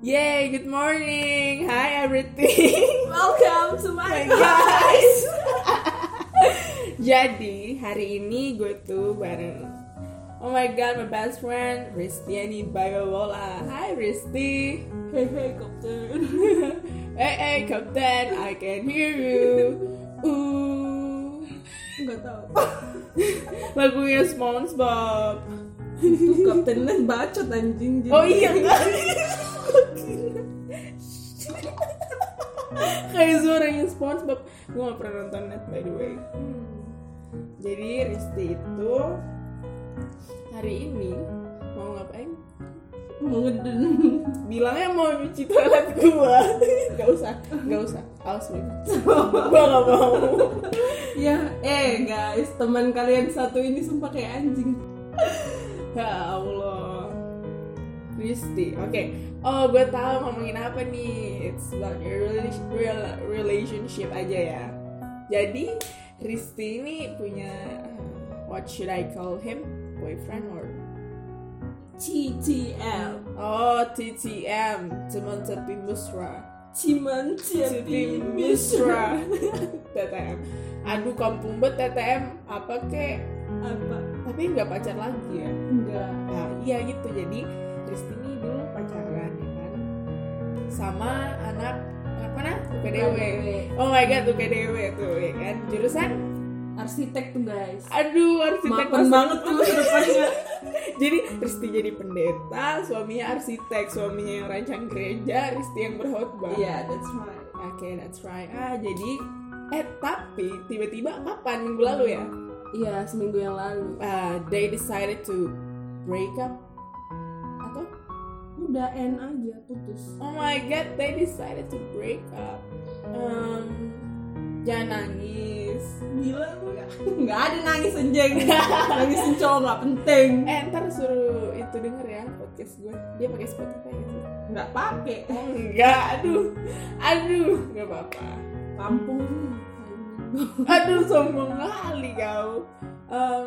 Yay, good morning. Hi everything. Welcome to Hi my guys. Jadi, hari ini gue tuh bareng Oh my god, my best friend Ristiani Bayola. Hi Risti. Hehe, kapten. hey, hey, Captain, I can hear you. Ooh. Enggak tahu. Lagunya SpongeBob. Itu kapten Len bacot anjing. Oh iya enggak. Kayak suaranya SpongeBob. Gue gak pernah nonton net by the way. Jadi Risti itu hari ini mau ngapain? Mau ngeden. Bilangnya mau nyuci toilet gua. gak usah, gak usah. Awas lu. gua gak mau. Ya, eh guys, teman kalian satu ini sumpah kayak anjing. Ya Allah. Risti. Oke. Oh, gue tahu ngomongin apa nih. It's about your rela- rela- relationship aja ya. Jadi Risti ini punya uh, what should I call him? Boyfriend or CTL, Oh, TTM, teman tepi mesra. Ciman Siti Cipi Misra TTM Aduh kampung bet TTM apa kek Apa? Tapi nggak pacar lagi ya Enggak. Nah iya gitu jadi Risti ini dulu pacaran ya kan Sama anak anak mana? UKDW Oh my god UKDW tuh ya kan Jurusan Arsitek tuh guys. Aduh arsitek Mapan masa- banget tuh masa depannya. Jadi Risti jadi pendeta Suaminya arsitek Suaminya yang rancang gereja Risti yang berkhotbah Iya, that's right. Oke, that's right. Ah, jadi eh tapi tiba-tiba kapan minggu lalu ya? Iya, seminggu yang lalu. Uh, they decided to break up atau Udah end aja putus. oh my god, they decided to break up. Um, jangan nangis. Gila lu ya. Nggak ada nangis anjing. Nangisin cowok nggak penting. Eh, ntar suruh itu denger ya podcast gue. Dia pakai Spotify gitu. Nggak pakai. Oh, enggak, aduh, aduh, nggak apa-apa. Kampung. Aduh, sombong kali kau. Em,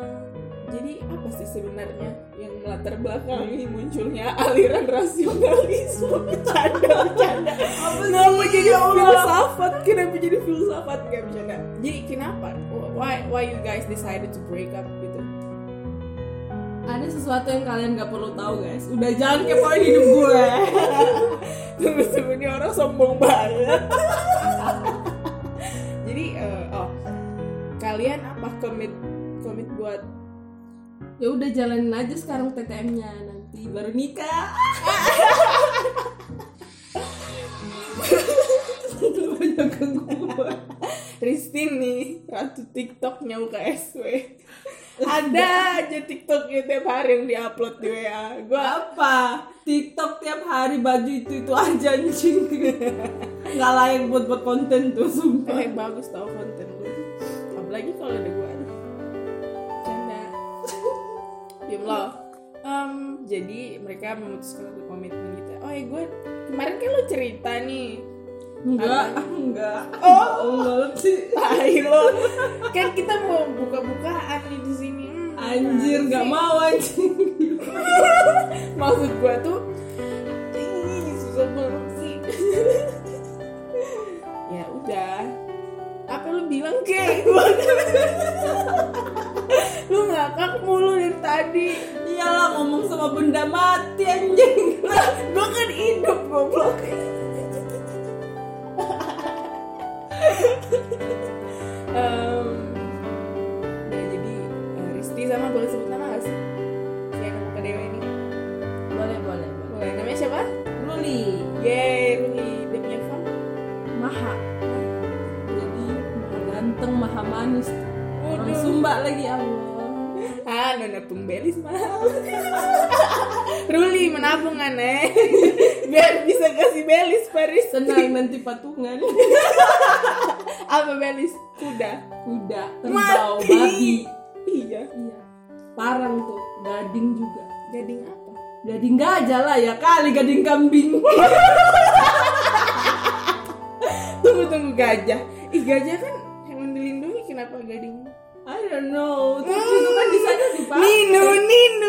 jadi apa sih sebenarnya yang melatar belakangi munculnya aliran rasionalisme? Bercanda, bercanda. Kenapa jadi filsafat? Kenapa jadi filsafat? Gak bercanda. Jadi kenapa? Why, why you guys decided to break up gitu? Ada sesuatu yang kalian nggak perlu tahu guys. Udah jangan kepoin hidup gue. Terus sebenarnya Iya. orang sombong banget. jadi, eh, oh, kalian apa komit komit buat ya udah jalanin aja sekarang TTM-nya nanti baru nikah. Lu banyak gangguan. Risti nih ratu TikToknya UKSW ada aja TikToknya tiap hari yang diupload di WA gua apa TikTok tiap hari baju itu itu aja anjing nggak layak buat buat konten tuh eh, sumpah bagus tau konten lu apalagi kalau ada gua canda diem lo Em, jadi mereka memutuskan untuk komitmen gitu oh ya gue kemarin kan lo cerita nih enggak enggak Oh. Allah sih tai lo kan kita mau buka-bukaan nih di sini Hmm, anjir nggak mau anjing maksud gua tuh ih susah banget sih ya udah apa lu bilang ke Gua- lu ngakak mulu dari tadi iyalah ngomong sama benda mati anjing lah gua kan hidup goblok Em, ya jadi eh, Risti sama boleh sebut nama gak sih? Si anak muka dewa ini boleh boleh boleh Boleh, namanya siapa? Luli Yeay, Ruli, dia punya fun maha jadi maha ganteng maha manis orang Waduh. Sumba lagi ya Allah Ah, nona pembelis mahal. Ruli menabung aneh. Biar bisa kasih belis Paris. tenang nanti patungan Apa belis? Kuda. kuda kerbau babi Iya. Iya. Parang tuh, gading juga. Gading apa? Gading gajah lah ya kali gading kambing. Tunggu tunggu gajah. Ih gajah kan hewan dilindungi kenapa gading? I don't know. Tapi itu kan di sana dipakai. Nino Nino.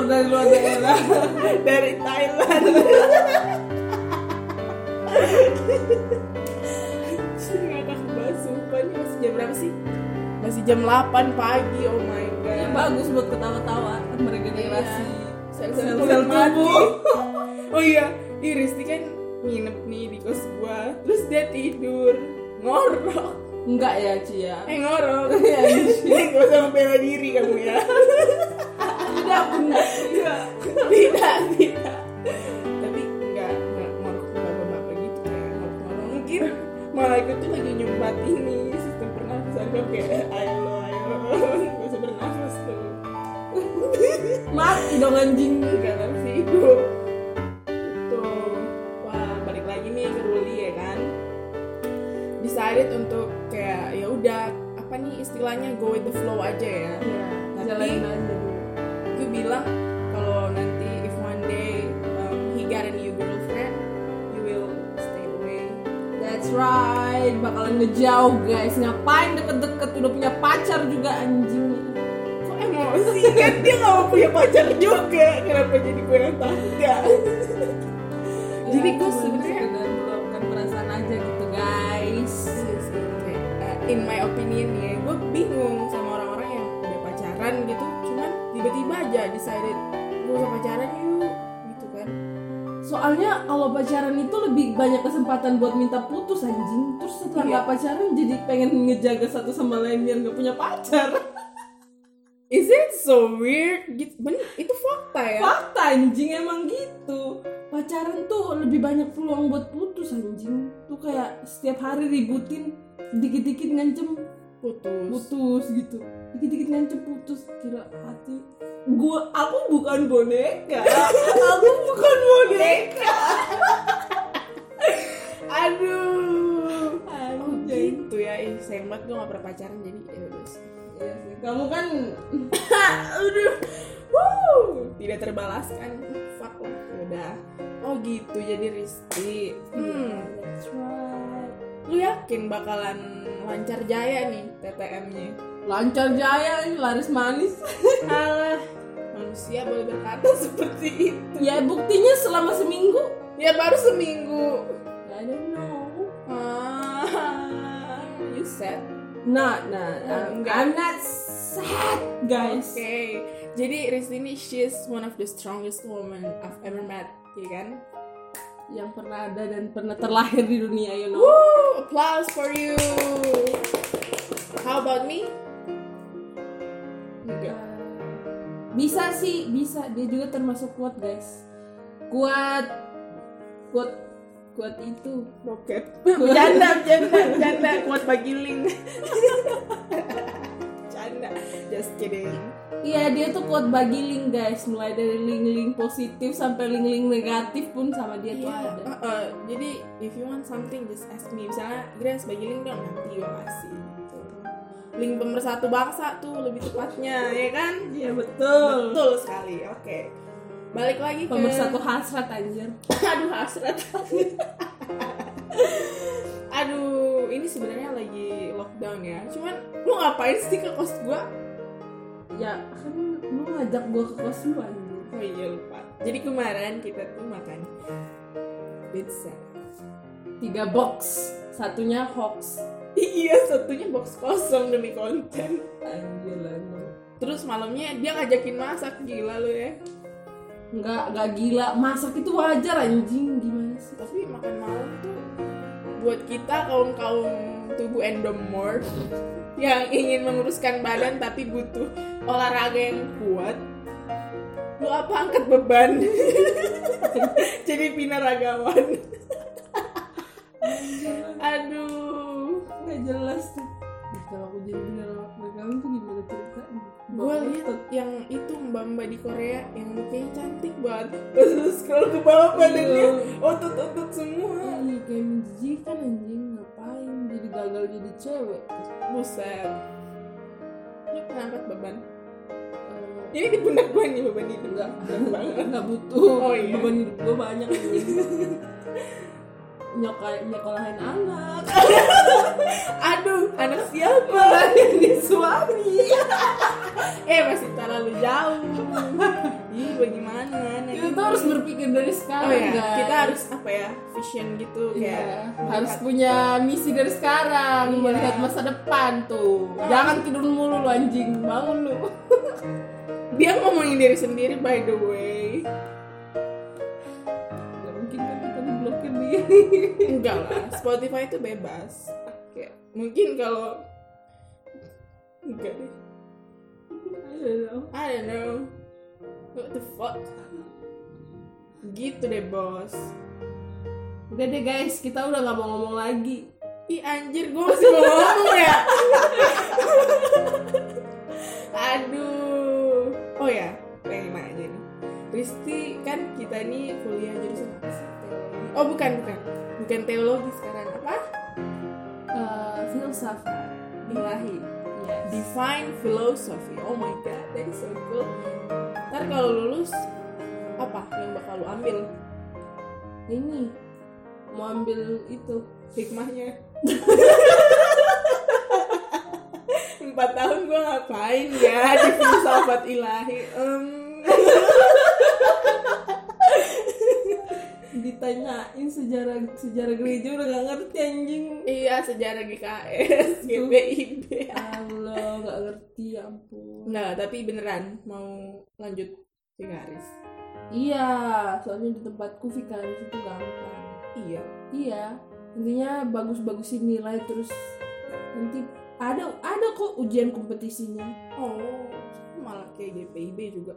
dari luar daerah dari Thailand Anjir, anak mbak sumpah ini masih jam berapa sih? Masih jam 8 pagi, oh my god Iya, ya bagus buat ketawa-tawa meregenerasi Sel-sel Iya. Sel-sel kulit mati tubuh. Oh iya, ih Risti kan nginep nih di kos gua Terus dia tidur, ngorok enggak ya Cia Eh ngorok Iya, Gak usah membela diri kamu ya tidak benar Tidak, tidak Tapi enggak, enggak ngorok ke bapak-bapak gitu Kayak ngorok-ngorok Mungkin malaikat tuh lagi nyumbat ini Sistem pernafasan gua kayak ayo lo, ayo lo Gak usah bernafas tuh mati dong anjing Enggak tahu sih hidup Gitu Wah, balik lagi nih ke Ruli ya kan Decided untuk kayak ya udah apa nih istilahnya go with the flow aja ya Tapi- Iya, jalanin aja dulu gue bilang kalau nanti if one day um, he got a new girlfriend you will stay away That's right, bakalan ngejauh guys. Ngapain deket-deket udah punya pacar juga anjing. kok emosi kan dia nggak mau punya pacar juga kenapa jadi gue yang tangga Iya, jadi Ya, gue cuman sebenarnya sekedar meluapkan perasaan aja gitu guys. iya, Uh, in my opinion ya gue bingung sama orang-orang yang udah pacaran gitu cuman tiba-tiba aja decided gue usah pacaran yuk gitu kan Soalnya kalau pacaran itu lebih banyak kesempatan buat minta putus anjing. Terus setelah Iya. nggak pacaran jadi pengen ngejaga satu sama lain biar nggak punya pacar. is it so weird gitu bener itu fakta ya Fakta anjing emang gitu. Pacaran tuh lebih banyak peluang buat putus anjing. Tuh kayak setiap hari ributin dikit-dikit ngancem putus putus gitu dikit-dikit ngancem putus kira hati gua aku bukan boneka aku bukan boneka aduh Oh Anjing. gitu ya, ih sayang banget gue gak pernah pacaran jadi ya udah sih. Iya sih, kamu kan Aduh, wow, tidak terbalaskan, fuck lah, ya udah. Oh gitu, jadi Risti. Hmm, That's right. lu yakin bakalan lancar jaya nih TTM-nya? lancar jaya laris manis Alah, manusia boleh berkata seperti itu. ya buktinya selama seminggu Ya baru seminggu. I don't know Ah, you sad? nah nah I'm, Eh, Enggak. I'm not sad guys Oke, jadi Risti ini she's one of the strongest woman I've ever met, ya kan? yang pernah ada dan pernah terlahir di dunia you know Woo! Applause for you. How about me? Enggak. Ya. bisa sih bisa dia juga termasuk kuat guys kuat kuat kuat itu Roket. Bercanda, bercanda, bercanda. Kuat bagi link. bercanda. Just kidding. iya dia tuh kuat bagi link guys mulai dari link-link positif sampai link-link negatif pun sama dia tuh Iya. ada uh, uh, jadi if you want something just ask me. Misalnya Grace bagi link dong nanti gue kasih. Gitu. Link pemersatu bangsa tuh lebih tepatnya, ya kan? iya betul Betul sekali. Oke. Balik lagi ke pemersatu hasrat anjir aduh hasrat aduh ini sebenarnya lagi lockdown ya cuman lu ngapain sih ke kos gua ya kan lu ngajak gua ke kos lu anjir oh iya lupa jadi kemarin kita tuh makan pizza tiga box satunya hoax iya satunya box kosong demi konten anjir lah lu. terus malamnya dia ngajakin masak gila lu ya nggak nggak gila masak itu wajar anjing gimana sih tapi makan malam tuh buat kita kaum kaum tubuh endomorph yang ingin menguruskan badan tapi butuh olahraga yang kuat lu apa angkat beban jadi pinaragawan aduh nggak jelas tuh kalau aku jadi beneran kamu tuh gimana ceritanya gue lihat yang itu mbak mbak di Korea yang mukanya cantik banget terus scroll ke bawah badannya otot otot semua Iya, kayak menjijikan anjing ngapain jadi gagal jadi cewek buset lu pernah angkat beban Eh, Ini di pundak gue nih beban hidup Enggak, banget nggak Eh, butuh Oh, iya. beban hidup gue banyak anjing nyokai nyekolahin anak Aduh, anak siapa ini suami? eh masih terlalu jauh. Ih, bagaimana? Nek? kita tuh harus berpikir dari Oh sekarang ya, guys. kita harus apa ya? Vision gitu Iya, kayak harus melihat- punya misi dari sekarang Iya. melihat masa depan tuh jangan tidur mulu lu anjing bangun lu Dia ngomongin diri sendiri by the way. Gak mungkin kan kita diblokir dia Enggak lah, Spotify itu bebas. Kayak, mungkin kalau enggak deh. Iya, I don't know. What the fuck? Gitu deh bos. udah deh guys kita udah gak mau ngomong lagi Ih anjir gue masih mau ngomong ya. Aduh. Oh ya, pengen nanya nih. Risti kan kita nih kuliah jurusan apa sih? Teologi. Oh bukan bukan, bukan teologi sekarang apa? Eh, filsafat Ilahi. yes. Define philosophy. Oh my god, that is so cool. Ntar kalau lulus apa yang bakal lu ambil ini mau ambil itu hikmahnya? Empat tahun gue ngapain ya di filsafat ilahi? Em, ditanyain sejarah sejarah gereja udah gak ngerti anjing Iya sejarah GKS, GPIB. Ya Allah gak ngerti ya ampun Enggak, tapi beneran mau lanjut Vikaris. iya soalnya di tempatku Vikaris itu gampang Iya. iya intinya bagus-bagusin nilai terus nanti ada ada kok ujian kompetisinya Oh, malah kayak GPIB juga.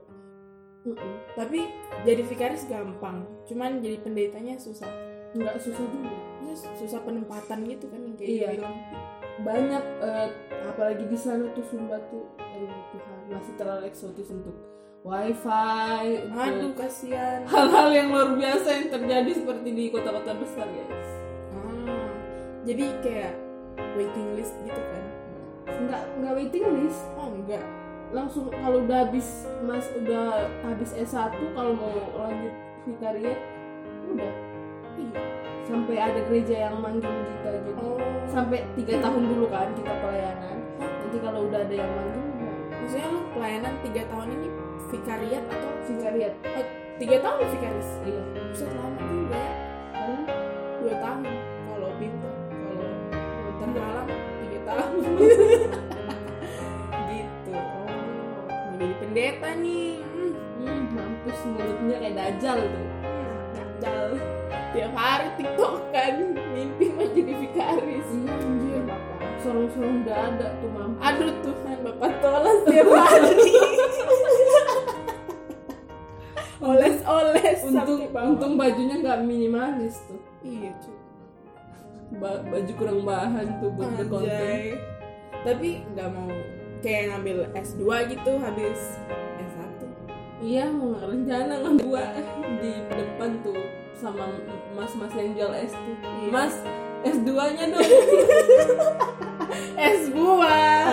Mm-mm. Tapi jadi Vikaris gampang, cuman jadi pendetanya susah. nggak susah juga Terus susah penempatan gitu kan yang kayak Iya. dia bilang. banyak eh, apalagi di sana tuh Sumba tuh aduh, Tuhan, masih terlalu eksotis untuk wifi Aduh untuk kasihan. hal-hal yang luar biasa yang terjadi seperti di kota-kota besar guys Ah, jadi kayak waiting list gitu kan? nggak nggak waiting list Oh enggak. langsung kalau udah habis mas udah habis S1 kalau mau lanjut vikaria udah Iya. sampai ada gereja yang manggil kita jadi Oh. sampai tiga tahun dulu kan kita pelayanan nanti kalau udah ada yang manggil udah Maksudnya lu pelayanan tiga tahun ini vikariat atau vikaria tiga tahun lu vikaris? iya Buset lama juga ya. karena dua tahun kalau bintang kalau terdalam tiga tahun gitu oh mau jadi pendeta nih hmm. Hmm, mampus mulutnya kayak dajal tuh. Gagal. tiap hari tiktokan mimpi mau jadi vikaris Iya anjir, bapak sorong-sorong dada tuh mampus. aduh Tuhan bapak tolas tiap hari oles oles Untung untung bajunya nggak minimalis tuh. iya cuy Ba- baju kurang bahan tuh buat berkonten. Anjay. Tapi nggak mau kayak ngambil S2 gitu habis S1. Iya, mau rencana ngambil gua di depan tuh sama mas-mas yang jual es tuh. Iya. Mas, es duanya dong. S2.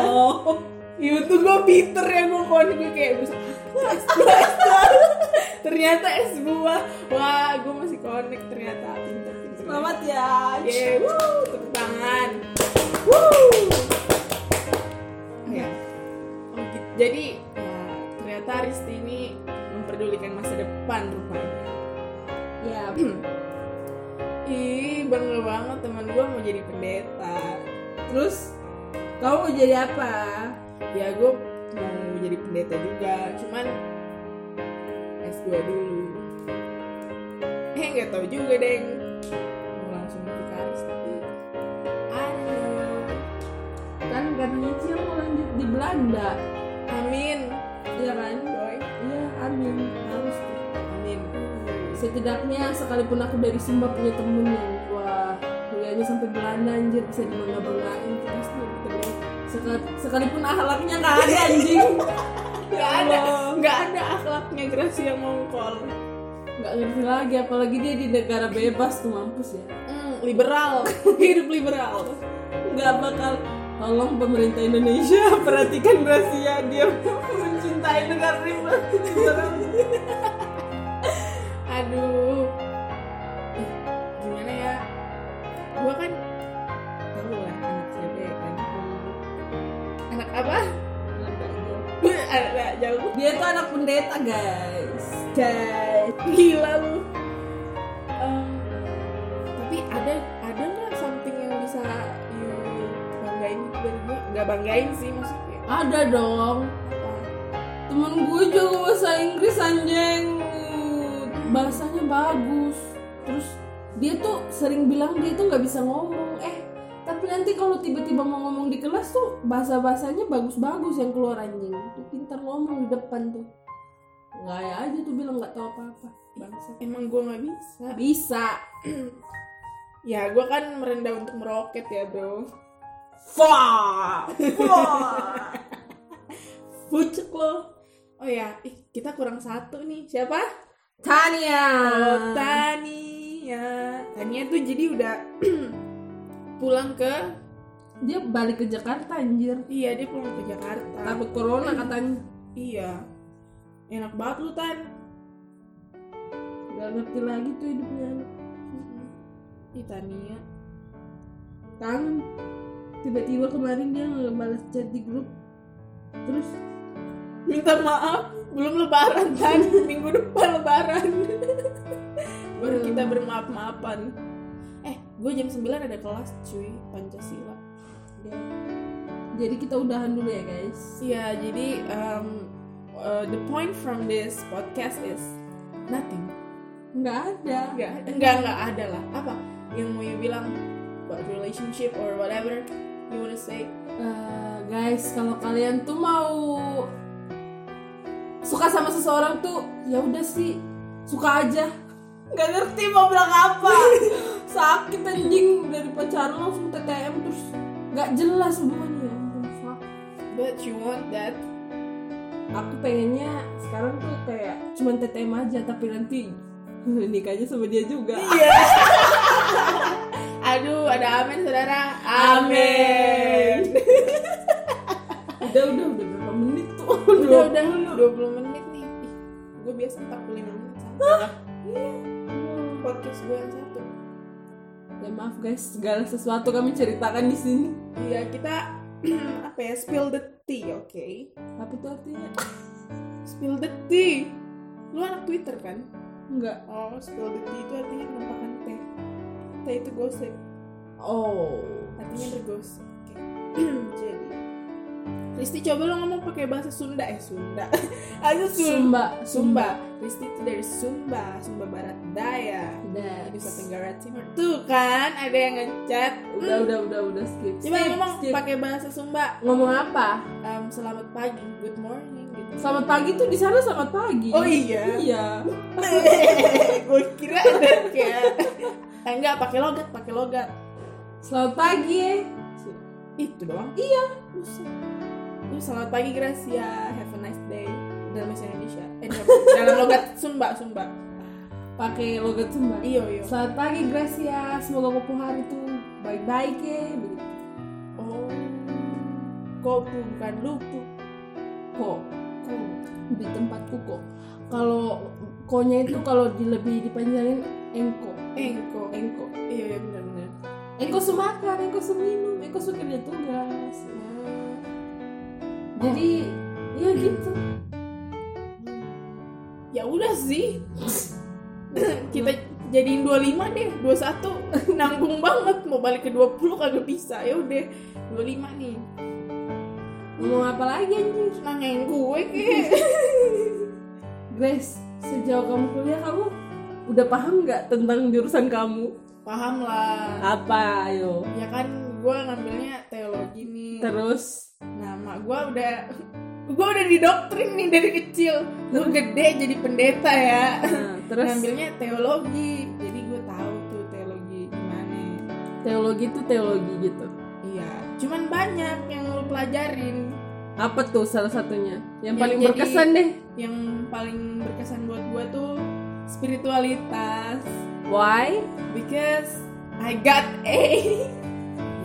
oh. Itu tuh gue bitter ya gue kon gue kayak bisa S2 S2. ternyata S2. Wah, gue masih connect ternyata pintar-pintar. Selamat ya. Yeay, wuh, tepuk tangan. Wuh. Iya. Ya. Oh, gitu. Jadi ya, ternyata Risti ini memperdulikan masa depan rupanya. Ya, Ih, bangga banget teman gue mau jadi pendeta. terus kamu mau jadi apa? Ya gue mau jadi pendeta juga, cuman S2 dulu. Eh nggak tahu juga deng. Mau langsung vikaris tapi. Aduh. Kan katanya Cil mau lanjut di Belanda. Amin. Iya kan? Doi. Iya, amin. Harus tuh. Amin. Hmm. Setidaknya sekalipun aku dari Sumba punya temen yang wah kuliahnya sampai Belanda anjir bisa dibangga-banggain terus tuh gitu guys. Sekal- sekalipun akhlaknya nggak ada anjing. Gak ada, nggak ada akhlaknya Gracia Mongkol. Nggak ngerti lagi apalagi dia di negara bebas tuh mampus ya. Hmm, liberal, hidup liberal. Nggak bakal tolong pemerintah Indonesia perhatikan Gracia dia mencintai negara ini. Aduh. Ih, Gimana ya? gua kan tahu lah anak siapa ya kan anak apa anak jauh Dia tuh anak pendeta guys. guys gila lu Em, tapi ada ada nggak something yang bisa you banggain dari gua nggak banggain sih maksudnya Ada dong. apa Temen gue juga bahasa Inggris anjing. Bahasanya bagus. Terus dia tuh sering bilang dia tuh nggak bisa ngomong. Eh, tapi nanti kalau tiba-tiba mau ngomong di kelas tuh bahasa-bahasanya bagus-bagus yang keluar anjing. Tuh pintar ngomong di depan tuh. Nggak ya aja tuh bilang nggak tahu apa-apa. Bangsa. emang gua nggak bisa Bisa. ya gua kan merendah untuk meroket ya bro Fuck. Fuck. Pucuk lo. Oh ya, ih, kita kurang satu nih. Siapa? Tania. Ah. Oh, Tania. ya. Tania tuh jadi udah pulang ke Dia balik ke Jakarta anjir. iya dia pulang ke Jakarta. Takut corona katanya. Iya. Enak banget lu Tan. Gak ngerti lagi tuh hidupnya anak. Ih Tania. Kangen. Tiba-tiba kemarin dia ngebalas chat di grup. Terus Minta maaf, belum lebaran Tan. Minggu depan lebaran. Hmm. Baru kita bermaaf-maafan. Eh, gue jam 9 ada kelas cuy, Pancasila. Iya. dia- jadi kita udahan dulu ya guys. Ya, jadi um, uh, the point from this podcast is nothing. Nggak ada. Enggak, enggak, enggak ada lah. Apa yang mau you bilang about relationship or whatever you wanna say? Eh, guys, kalau kalian tuh mau suka sama seseorang tuh ya udah sih suka aja. Nggak ngerti mau bilang apa. Sakit anjing dari pacaran langsung TTM terus nggak jelas hubungannya. Ya ampun, fuck. But you want that? aku pengennya sekarang tuh kayak cuman TTM aja tapi nanti nikahnya sama dia juga Iya. Aduh, ada amin saudara. Amin. udah udah udah berapa menit tuh udah, udah, 20 menit nih. Ih, gue biasa 45 menit. Hah? Iya. Podcast gue yang satu. ya maaf guys segala sesuatu kami ceritakan di sini Iya, kita apa ya? Spill the tea, oke? apa tuh artinya Spill the tea. Lu anak Twitter kan? enggak Oh, spill the tea itu artinya menumpahkan teh. Teh itu gosip. oh Artinya bergosip. Oke. Jadi, Risti coba lo ngomong pakai bahasa Sunda eh Sunda. Aku Sumba. Sumba Sumba. Risti itu dari Sumba, Sumba Barat Daya. udah Nusa Tenggara Timur. Tuh kan, ada yang ngecat. udah udah udah udah skip Coba skip, ngomong skip. pakai bahasa Sumba. ngomong apa Em, selamat pagi, good morning gitu. selamat pagi tuh di sana selamat pagi Oh iya. iya Gue kira ada kayak Eh, enggak pakai logat, pakai logat. selamat pagi Itu doang? Iya. Usah. Lu selamat pagi Gracia, have a nice day. Dalam bahasa Indonesia. Eh, dalam- dalam logat Sumba, Sumba. pakai logat Sumba Iyo, iyo. Selamat pagi Gracia, semoga kopu hari itu baik-baik ya. Begitu. Oh. Kopu bukan lupu. Kok Ko. di tempatku kok. Kalau konya itu kalau di lebih dipanjangin engko, Engko. engko. Eh, Iya, iya benar benar. Engko sumakan, engko suminum, engko sukerja tugas. Nah. Jadi ya gitu. Ya udah sih. Kita jadiin 25 deh, 21 nanggung banget mau balik ke 20 kagak bisa. Ya udah, 25 nih. Ngomong apa lagi anjir? Nanyain gue kek. Grace, sejauh kamu kuliah kamu udah paham nggak tentang jurusan kamu? Paham lah. Apa ayo? ya kan gue ngambilnya teologi nih Terus nah mak gue udah gue udah didoktrin nih dari kecil lu gede jadi pendeta ya nah, terus ngambilnya teologi jadi gue tahu tuh teologi gimana teologi itu teologi gitu. iya cuman banyak yang lu pelajarin apa tuh salah satunya Yang yang paling jadi- berkesan deh yang paling berkesan buat gue tuh spiritualitas why because I got A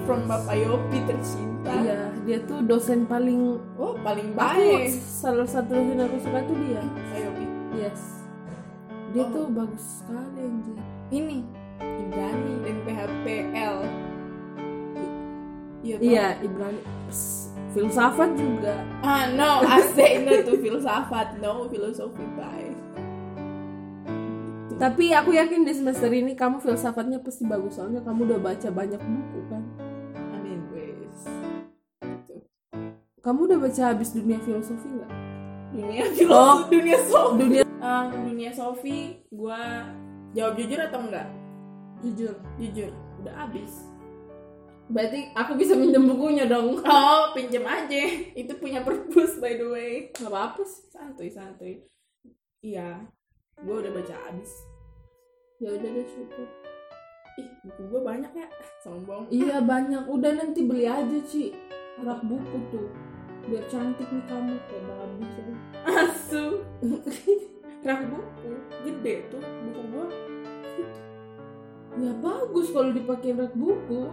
from Bapak Yopi tercinta iya dia tuh dosen paling oh paling aku baik salah satu dosen aku suka tuh dia Pak Yopi yes dia Oh. tuh bagus sekali anjir ini Ibrani dan PHPL Iya. Pak. Iya, Ibrani. Pss, Filsafat juga. Ah no, I say no to filsafat, no philosophy bye. Tapi aku yakin di semester ini kamu filsafatnya pasti bagus soalnya kamu udah baca banyak buku kan. I mean, wes. Gitu. Kamu udah baca habis dunia filosofi nggak? Oh. Dunia filosofi, dunia sofi. Dunia Em, dunia sofi, gua jawab jujur atau enggak? jujur. Jujur, udah abis. Berarti aku bisa minjem bukunya dong. Oh, pinjem aja. Itu punya perpus by the way. Gak apa-apa sih. Santuy, santuy. Iya, gua udah baca abis. Ya udah deh cukup. Ih, buku gua banyak ya. Sombong. Iya banyak. Udah nanti beli aja Ci. Rak buku tuh. Biar cantik nih kamu kayak babi. Ci. Asu. Rak buku gede tuh buku gua. Ya bagus kalau dipakai rak buku.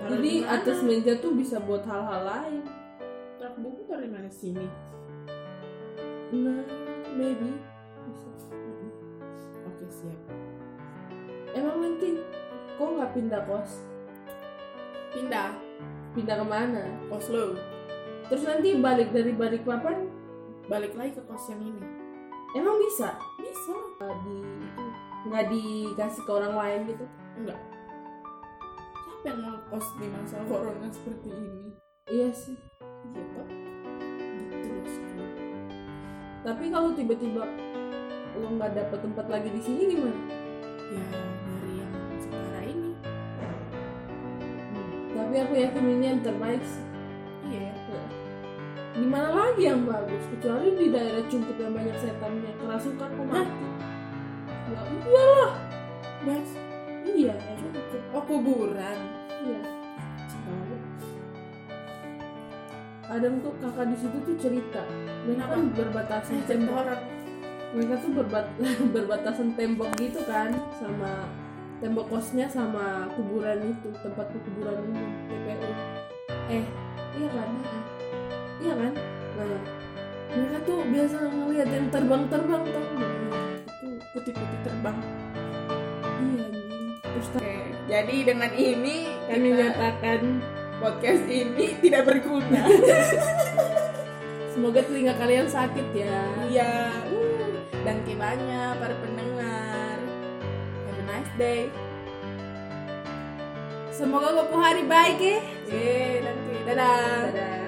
Taruh Jadi di mana? atas meja tuh bisa buat hal-hal lain. rak buku dari mana sini? Nah, maybe. Bisa. Oke, siap. Emang nanti kok nggak pindah kos? Pindah Pindah kemana? Oslo. Terus nanti balik dari balik papan, Balik lagi ke kos yang ini. emang bisa? Bisa. Nggak di itu nggak dikasih ke orang lain gitu? Enggak. Siapa yang mau kos di masa corona seperti ini? Iya sih. Gitu. Gitu bosku. Tapi kalau tiba-tiba lo nggak dapet tempat lagi di sini gimana? Ya, dari yang sekarang ini. Tapi aku yakin ini yang terbaik sih. Iya. Gimana lagi yang bagus? Kecuali di daerah cungkup yang banyak setannya kerasukan kok mati. Nggak iya lah. Bas, Iya. cukup. Oh, kuburan. Iya. Kadang tuh kakak di situ tuh cerita. Mereka kan berbatasan Saya tembok. orang. Mereka tuh berbat- berbatasan tembok gitu kan sama tembok kosnya sama kuburan itu tempat kuburan umum TPU. Eh, iya kan? Iya kan? Nah, mereka tuh biasa ngeliat yang terbang-terbang tuh. Nah, Itu Putih-putih terbang. iya anjing. Terus Oke. Jadi dengan ini kami kita nyatakan podcast ini tidak berguna. semoga telinga kalian sakit ya. Iya. Uh, Dan kiranya para pendengar. Have a nice day. Semoga kamu hari baik ya. Yeay, nanti. Dadah. Dadah.